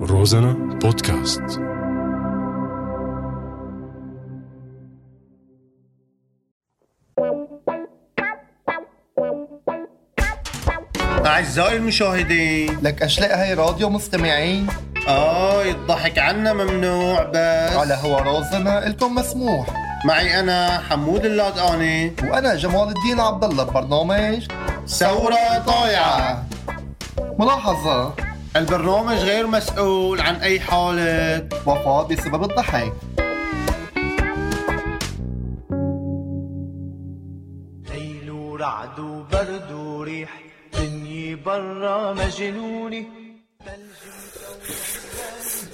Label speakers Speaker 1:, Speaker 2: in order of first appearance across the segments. Speaker 1: روزانا بودكاست
Speaker 2: أعزائي المشاهدين
Speaker 3: لك اشلاء هاي راديو مستمعين
Speaker 2: آه الضحك عنا ممنوع بس
Speaker 3: على هو رازنا الكم مسموح
Speaker 2: معي أنا حمود اللادقاني
Speaker 3: وانا جمال الدين عبد الله ببرنامج
Speaker 2: ثورة طايعة
Speaker 3: ملاحظه
Speaker 2: البرنامج غير مسؤول عن أي حالة
Speaker 3: وفاه بسبب الضحك
Speaker 4: ليل ورعد وبرد وريح دنيي برا مجنونة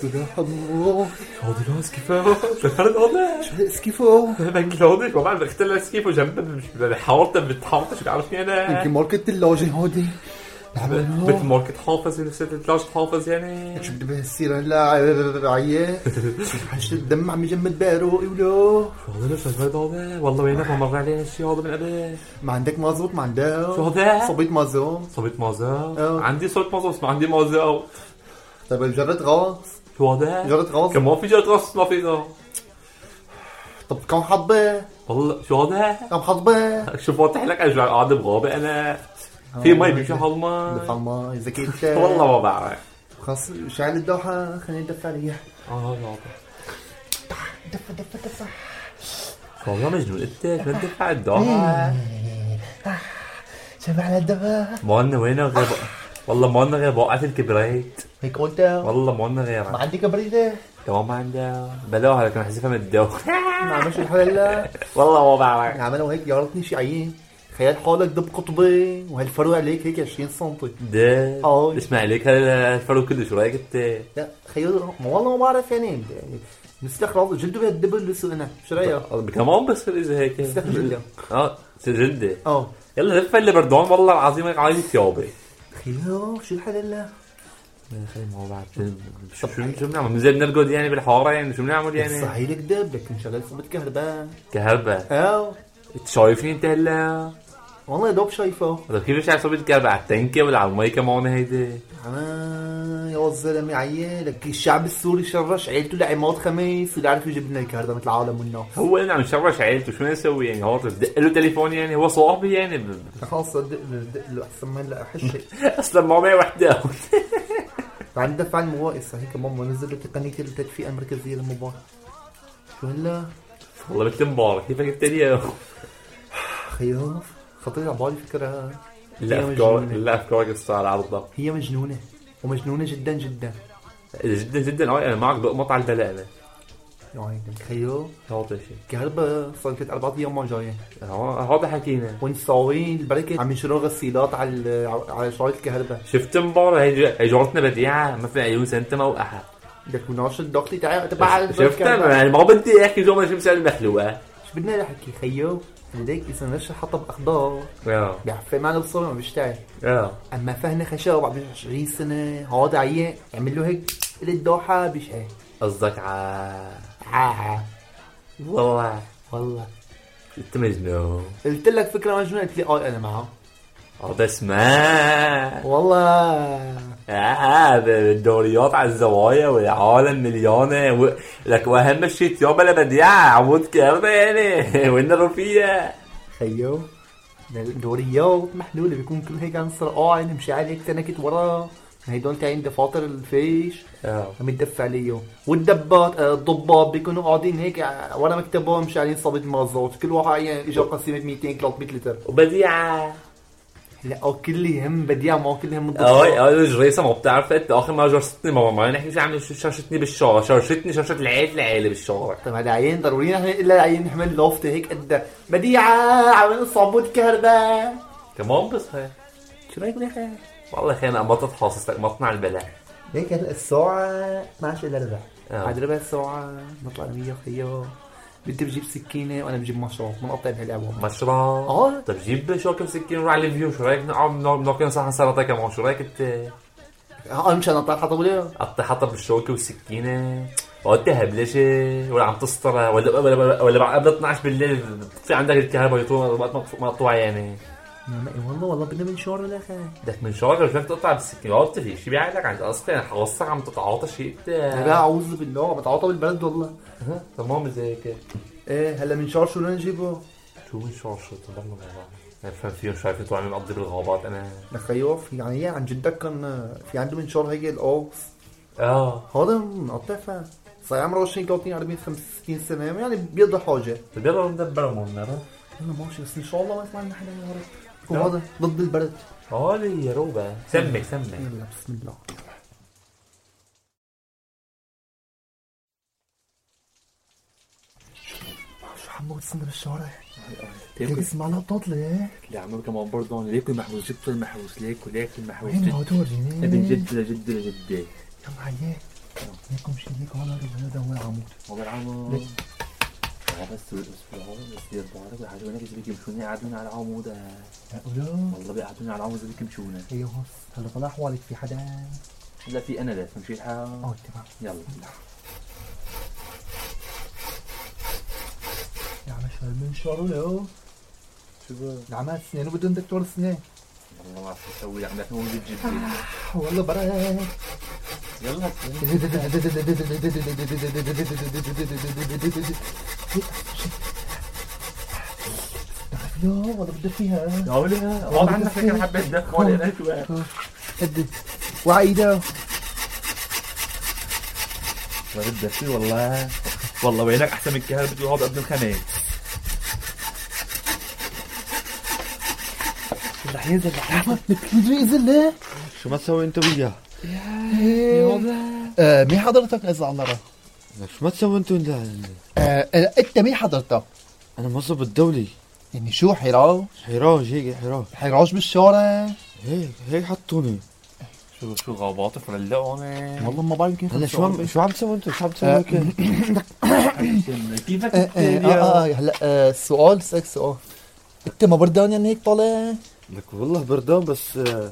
Speaker 5: هذا لا سكيفو دخلت هذا
Speaker 3: سكيفو
Speaker 5: لك هذا والله انا دخلت لها سكيفو جنب حاولت بتحاولت شو عرفتني انا
Speaker 3: ماركت اللاجي هودي
Speaker 5: مثل ماركت حافظ ونسيت الكلاش حافظ يعني
Speaker 3: شو بدي بهالسيرة هلا عيال حشد دم عم يجمد بقروقي ولو
Speaker 5: والله ليش هذا هذا والله وين ما مر علي هالشيء هذا من قبل
Speaker 3: ما عندك مازوت ما عندها
Speaker 5: شو هذا؟
Speaker 3: صبيت مازوت
Speaker 5: صبيت مازا
Speaker 3: آه.
Speaker 5: عندي صوت مازا بس ما عندي مازا
Speaker 3: طيب جرت غاص
Speaker 5: شو هذا؟
Speaker 3: جرت غاص
Speaker 5: كمان في جرة راس ما في غاز.
Speaker 3: طب كم حبة
Speaker 5: والله شو هذا؟
Speaker 3: كم حبة
Speaker 5: شو فاتح لك اجل قاعد بغابة انا في مي بيمشي
Speaker 3: دفع
Speaker 5: هالمي
Speaker 3: الماء اذا كنت
Speaker 5: آه. والله ما بعرف
Speaker 3: خلص شعل الدوحة خليني ادفع ريح
Speaker 5: اه لا دفع دفع دفع والله مجنون انت ما تدفع الدعاء
Speaker 3: شبع على الدفا
Speaker 5: ما لنا وين غير والله ما لنا غير بقعة الكبريت
Speaker 3: هيك قلت
Speaker 5: والله ما لنا
Speaker 3: ما
Speaker 5: غيرها
Speaker 3: عندي كبريتة
Speaker 5: كمان ما عندها بلاها لكن حسيفها من الدو
Speaker 3: ما عملش يعني الحل لا
Speaker 5: والله ما بعرف
Speaker 3: عملوا هيك يارتني شيعين خيال حالك دب قطبي وهالفروع عليك هيك 20 سم
Speaker 5: ده
Speaker 3: آه.
Speaker 5: اسمع عليك هذا الفرو كله شو رايك انت؟
Speaker 3: لا خيال ما والله ما بعرف يعني يعني مثل خلاص جلده بهالدبل لسه انا شو رايك؟
Speaker 5: كمان بصير اذا هيك
Speaker 3: استخدم اليوم.
Speaker 5: اه جلدة
Speaker 3: اه
Speaker 5: يلا لف اللي بردون والله العظيم هيك عايز ثيابي
Speaker 3: خيال شو الحل لا
Speaker 5: خلي ما بعرف شو شو بنعمل؟ بنزل نرقد يعني بالحاره يعني شو بنعمل يعني؟
Speaker 3: صحيح لك دب لك ان شاء الله صبت كهرباء
Speaker 5: كهرباء
Speaker 3: اه
Speaker 5: انت شايفني انت هلا
Speaker 3: والله يا دوب شايفه
Speaker 5: طب كيف مش عارف صبيت كهرباء على التنكه ولا على المي كمان هيدي
Speaker 3: انا يا الزلمه عيالك الشعب السوري شرش عيلته لعماد خميس واللي عارف يجيب لنا الكهرباء مثل العالم والناس
Speaker 5: هو انا عم شرش عيلته شو نسوي يعني هو بدق له تليفون يعني هو صاحبي يعني ب-
Speaker 3: خلاص دق له دق له احسن ما لا احش
Speaker 5: اصلا ما معي وحده
Speaker 3: عندي دفع الموائس هيك ماما نزل له تقنيه التدفئه المركزيه للموبايل شو هلا
Speaker 5: والله مثل مبارك كيف جبت لي إياه؟
Speaker 3: خياف خطير على بالي فكره
Speaker 5: لا
Speaker 3: هي
Speaker 5: افكار
Speaker 3: مجنونة.
Speaker 5: لا افكار قصة على عرضها
Speaker 3: هي مجنونه ومجنونه جدا جدا
Speaker 5: جدا جدا اه انا معك بقمط على البلاله
Speaker 3: يا عيني خياف
Speaker 5: هذا شيء
Speaker 3: الكهرباء صار لك اربع ايام ما جايه
Speaker 5: هذا حكينا
Speaker 3: ونساوين البركه عم يشيلوا غسيلات على ال- على شرايط الكهرباء
Speaker 5: شفت مبارك هي ج- هي جارتنا بديعه ما في عيون سنتها موقعها
Speaker 3: لك وناشط الدخل تاعي تبع
Speaker 5: شفتها ما- ما بدي احكي جمله شو مسألة المخلوقه
Speaker 3: شو بدنا نحكي خيو لديك اذا نشر حطب اخضر
Speaker 5: اه
Speaker 3: بيعفي معنا الصوره ما بيشتغل
Speaker 5: اه
Speaker 3: اما فهنا خشب بعد 20 سنه هاد عيان يعمل له هيك للدوحه بيشقى
Speaker 5: قصدك ع
Speaker 3: عا
Speaker 5: آه. والله
Speaker 3: والله
Speaker 5: انت مجنون
Speaker 3: قلت لك فكره مجنونه قلت لي اه انا معه
Speaker 5: هذا اسمع
Speaker 3: والله
Speaker 5: هذا الدوريات آه، على الزوايا والعالم مليانه و... لك واهم شيء ثياب لا بديعه عمود كهرباء يعني وين الروفيه
Speaker 3: خيو دوريات محلوله بيكون كل هيك آه، عن صرقاعي نمشي عليه هيك تنكت وراه هيدول تاعين دفاطر الفيش
Speaker 5: آه.
Speaker 3: عم يدفع ليه والدبات آه، الضباط بيكونوا قاعدين هيك ع- ورا مكتبهم مش عليين صابت مازوت كل واحد عيان اجا قسيمه 200 300 لتر
Speaker 5: وبديعه
Speaker 3: لا او كل يهم بديع ما هو كل يهم
Speaker 5: اوي
Speaker 3: الضباط
Speaker 5: اوي جريسه ما بتعرف انت اخر مره جرستني ماما ما نحكي شو عم شرشتني بالشارع شرشتني شرشت العيله العيله بالشارع
Speaker 3: طيب هذا عيان ضروري نحن الا عيان نحمل لوفت هيك قد بديعه عم صابوت كهرباء
Speaker 5: كمان بس هي
Speaker 3: شو رايك بالاخر؟
Speaker 5: والله خيانه ما تتحاصص لك ما تطلع البلاء
Speaker 3: هيك هلا الساعة 12 الا ربع
Speaker 5: آه.
Speaker 3: بعد طيب. ربع ساعة نطلع انا وياه خيو بدي بجيب سكينة وانا بجيب مشروب بنقطع بهاللعبة
Speaker 5: مشروع
Speaker 3: آه.
Speaker 5: طب جيب شوكه وسكين وروح على الفيو شو رايك نقعد نقعد- ناكل صحن سلطه كمان شو رايك انت
Speaker 3: اه مش انا طالع حطب اليوم
Speaker 5: قطع حطب بالشوكه والسكينه وانت هبلشه ولا عم تسطر ولا ولا ولا, ولا بعد قبل 12 بالليل في عندك الكهرباء يطول وقت مقطوع يعني
Speaker 3: انما إيه والله والله بدنا منشار ولا خير
Speaker 5: ده من شعرك مش عارف تقطع بالسكينات في شيء بيعلق عن اصلا حوصك عم تتعاطى شيء
Speaker 3: انا اعوذ بالله بتعاطى بالبلد والله
Speaker 5: ها، تمام زي كده
Speaker 3: ايه هلا منشار شو بدنا نجيبه؟
Speaker 5: شو من شعر شو تضلوا مع بعض انا بفهم فيهم شو عارف انتوا عم نقضي بالغابات انا
Speaker 3: لك ايوه في- يعني إيه عن جدك كان في عنده منشار هيجي القاص
Speaker 5: اه
Speaker 3: هذا مقطع فيه صار عمره 20 30 40 65 سنه يعني بيقضي حاجه
Speaker 5: طب يلا ندبر مننا
Speaker 3: يلا ماشي بس ان شاء الله ما يطلع لنا حدا يا رب وهذا ضد البرد
Speaker 5: قالي يا روبا
Speaker 6: إيه.
Speaker 5: سمك سمك
Speaker 3: يلا بسم الله شو عم بتصلنا بالشارع؟ ليك اسمع لها بتطلع
Speaker 6: لعمرك ما برضه انا ليك المحبوس جبت المحبوس ليك وليك المحبوس
Speaker 3: وين
Speaker 6: جد
Speaker 3: هدول يا
Speaker 6: ابن جد لجد لجدي
Speaker 3: معايا ليكم شي ليك ولا ولا ده ولا عمود
Speaker 6: والله العمر آه، بس بالاسبوع بس يا ضهرك الحاج وانا كنت بيجي مشوني قعدوني على العمود آه.
Speaker 3: لا أيوه،
Speaker 6: والله بيقعدوني على العمود بيجي مشوني
Speaker 3: هي هص هلا طلع حوالك في حدا
Speaker 6: لا في انا لا فمشي الحال
Speaker 3: اه تمام
Speaker 6: يلا
Speaker 3: يا عم شو المنشار ولا
Speaker 6: شو بقى؟
Speaker 3: العمال السنان بدهم دكتور سنان
Speaker 6: والله يعني ما عرفت اسوي عم بحكي جد جدي
Speaker 3: والله برد
Speaker 6: يلا
Speaker 3: لا والله بدي فيها
Speaker 6: يلا غصب عنك كان حبه دخ ولا هناك بقى
Speaker 3: قد وعيدة
Speaker 6: ما بدك فيه والله والله وينك احسن من كهرباء بده يقعد قبل الخناق
Speaker 3: مدري اذا لا
Speaker 7: شو ما تسوي انت وياه
Speaker 8: آه، مين حضرتك اذا على رأي؟
Speaker 7: لك شو ما تسوي انت وياه
Speaker 8: آه، آه، انت مين حضرتك
Speaker 7: انا موظف الدولي
Speaker 8: يعني شو حراج
Speaker 7: حراج هيك حراج
Speaker 8: حراج بالشارع
Speaker 7: هيك هيك حطوني
Speaker 6: شو شو غابات فرلقوا انا
Speaker 8: والله ما بعرف كيف
Speaker 7: هلا شو عم شو عم تسوي انت شو عم تسوي
Speaker 8: آه.
Speaker 7: هيك
Speaker 6: كيفك
Speaker 8: آه، آه، آه، آه، هلا آه، سؤال سألك سؤال انت ما بردان يعني هيك طالع
Speaker 7: آه، لك والله بردان بس آه،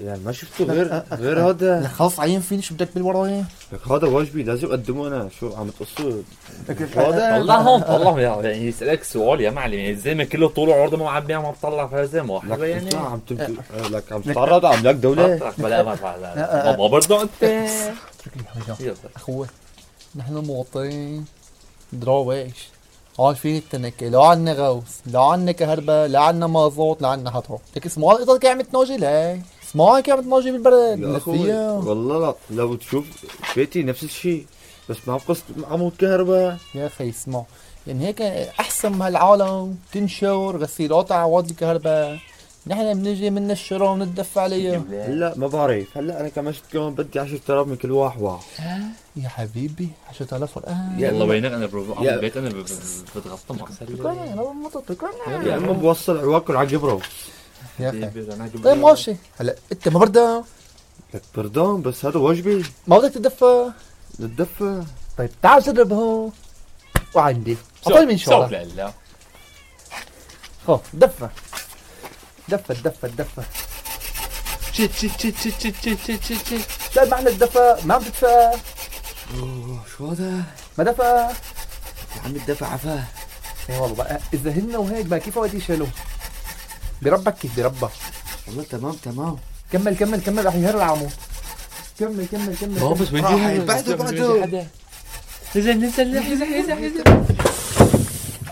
Speaker 7: يعني ما شفته غير غير هذا
Speaker 8: لك خلص عين فيني شو بدك بالوراية
Speaker 7: لك هذا واجبي لازم اقدمه انا شو عم تقصه
Speaker 6: طلعهم طلعهم يعني يسألك سؤال يا معلم يعني ازاي ما كله طول عرضه ما عم بيعمل ما بطلع فيها زي ما واحد
Speaker 7: لك
Speaker 6: يعني
Speaker 7: انت عم تمت... آه، لك آه. عم تتعرض على املاك دوله
Speaker 6: طلعك بلا ما فعل ما برضه انت يلا
Speaker 8: اخوي نحن مواطنين دراويش عارفين التنكة لا عنا غوص لا عنا كهرباء لا عنا مازوت لا عنا حطب لك اسمعوا القطط كيف عم تناجي هاي اسمعوا كيف عم تناجي بالبرد
Speaker 7: يا
Speaker 8: لك
Speaker 7: أخوي،
Speaker 8: فيها
Speaker 7: والله لا لو تشوف بيتي نفس الشيء بس مع قصة عمود كهرباء
Speaker 8: يا اخي اسمع يعني هيك احسن ما العالم تنشر غسيلات على عواد الكهرباء نحن بنجي من الشرا وندفع عليها
Speaker 7: هلا ما بعرف هلا انا كمان شفت كمان بدي 10000 من كل واحد واحد
Speaker 8: يا حبيبي 10000 ورقه
Speaker 6: يلا وينك انا بروح
Speaker 7: يا-
Speaker 6: على البيت انا ب- ب- بتغطى مع سريع
Speaker 7: يا اما بوصل عواكل على جبره
Speaker 8: يا اخي طيب ماشي هلا انت ما بدك
Speaker 7: لك بردان بس هذا واجبي
Speaker 8: ما بدك تدفى
Speaker 7: للدفة
Speaker 8: طيب تعال جرب هون وعندي اعطيني من شغلك
Speaker 6: لا لا
Speaker 8: خو دفى دفى دفى دفى
Speaker 6: تشيت تشيت تشيت تشيت تشيت تشيت تشيت تشيت
Speaker 8: لا معنى الدفى ما عم تدفى
Speaker 7: شو هذا؟
Speaker 8: ما دفى
Speaker 7: يا عم الدفع عفا
Speaker 8: اي والله بقى اذا هن وهيك بقى كيف وقت يشيلوا بربك كيف بربك
Speaker 7: والله تمام تمام
Speaker 8: كمل كمل كمل رح يهرب عمو كمل كمل كمل
Speaker 6: اه بس وين جاي؟
Speaker 7: بعده بعده
Speaker 9: نزل نزل نزل نزل نزل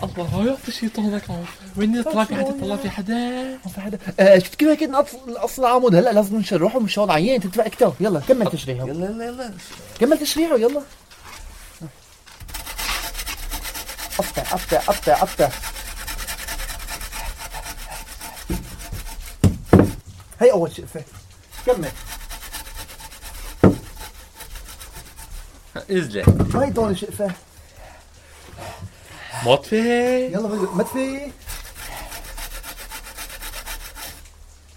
Speaker 9: الله يعطي شيطانك عم وين طلع في حدا طلع في حدا
Speaker 8: ما في حدا آه شفت كيف هيك نقص نقص العمود هلا لازم نشر روحه مشان عيان تدفع كتاب يلا كمل تشريحه
Speaker 7: يلا يلا يلا
Speaker 8: كمل تشريحه يلا قطع قطع قطع قطع هي اول شيء كمل
Speaker 6: ازلع
Speaker 8: هاي ثاني شقفه
Speaker 6: مطفي
Speaker 8: يلا بدي مدفي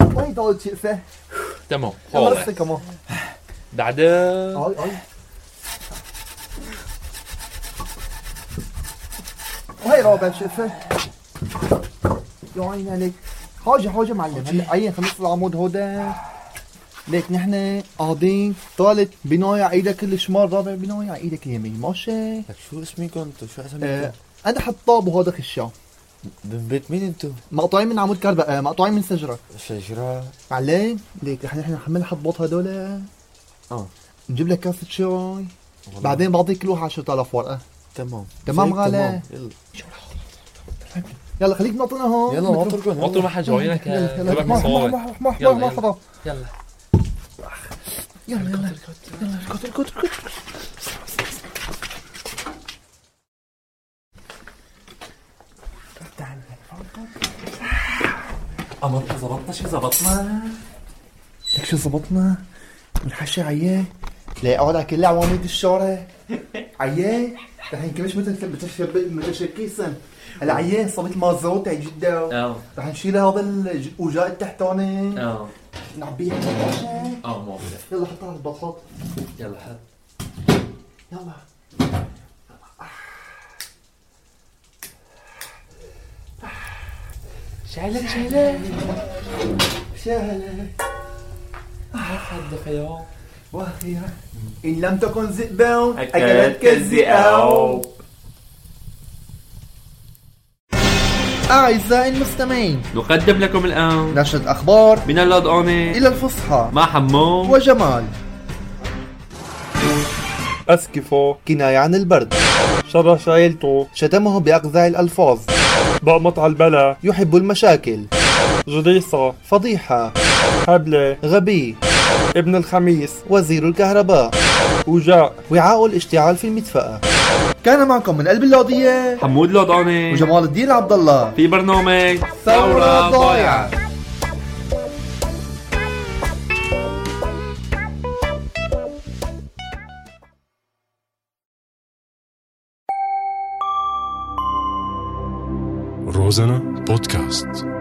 Speaker 8: هاي ثالث شقفه
Speaker 6: تمام
Speaker 8: يلا
Speaker 6: خلاص
Speaker 8: لسه كمان
Speaker 6: بعدها
Speaker 8: هاي هاي وهي رابع شقفه يا عيني عليك حاجه حاجه معلم هلا عين خلص العمود هودا ليك نحن قاعدين ثالث بناية ايدك الشمال رابع بناية ايدك اليمين ماشي Eh,
Speaker 7: لك شو اسمي كنت شو اسمي
Speaker 8: آه، انا حطاب وهذا خشام
Speaker 7: من بيت مين انتوا؟
Speaker 3: مقطوعين من عمود كهرباء
Speaker 8: eh,
Speaker 3: آه، مقطوعين من شجره
Speaker 7: شجرة
Speaker 3: عليه ليك احنا احنا عمال نحبط هدول
Speaker 7: آه.
Speaker 3: نجيب لك كاسه شاي بعدين بعطيك كل واحد 10000 ورقه
Speaker 7: تمام
Speaker 3: تمام
Speaker 7: زي
Speaker 3: غالي.
Speaker 7: يلا
Speaker 3: يلا خليك نعطينا هون
Speaker 7: يلا نعطركم
Speaker 5: وقت
Speaker 7: يلا.
Speaker 5: ما حد جاوبينك
Speaker 3: يلا
Speaker 5: يا
Speaker 3: يلا
Speaker 5: جابك
Speaker 3: محو محو
Speaker 5: مصاري
Speaker 3: محو محو
Speaker 5: يلا،
Speaker 3: محو
Speaker 5: يلا.
Speaker 3: محو
Speaker 10: يلا
Speaker 3: يلا يلا
Speaker 11: قمرنا ظبطنا شي ظبطنا
Speaker 3: لك شو ظبطنا ونحشي عياه لا اقعد على كل عواميد الشارع عياه رح ينكمش مثل متشبك متشكيسا هلا عياه صبت مازوت تاع جدة
Speaker 5: اه
Speaker 3: رح نشيل هذا الوجاء التحتاني
Speaker 5: اه
Speaker 3: نعبيه
Speaker 5: اه موافق
Speaker 3: يلا حطها على البطاط
Speaker 5: يلا حط
Speaker 3: يلا
Speaker 10: شعلك شعلك
Speaker 3: شاهلة
Speaker 5: آه،
Speaker 10: حد خيار
Speaker 3: واخيرا ان لم تكن ذئبا
Speaker 11: اكلتك الذئاب
Speaker 3: اعزائي المستمعين
Speaker 5: نقدم لكم الآن
Speaker 3: نشرة اخبار
Speaker 5: من اللود اوني
Speaker 3: الى الفصحى
Speaker 5: مع حمو
Speaker 3: وجمال
Speaker 7: أسكفو
Speaker 3: كناية عن البرد
Speaker 7: شبه شايلته
Speaker 3: شتمه بأقذع الألفاظ
Speaker 7: ضغمت على البلا
Speaker 3: يحب المشاكل
Speaker 7: جديصة
Speaker 3: فضيحة
Speaker 7: هبلة
Speaker 3: غبي
Speaker 7: ابن الخميس
Speaker 3: وزير الكهرباء
Speaker 7: وجاء
Speaker 3: وعاء الاشتعال في المدفأة كان معكم من قلب اللوضية
Speaker 5: حمود لود اوني
Speaker 3: وجمال الدين عبد الله
Speaker 5: في برنامج
Speaker 3: ثورة ضايعة
Speaker 1: Розана подкаст.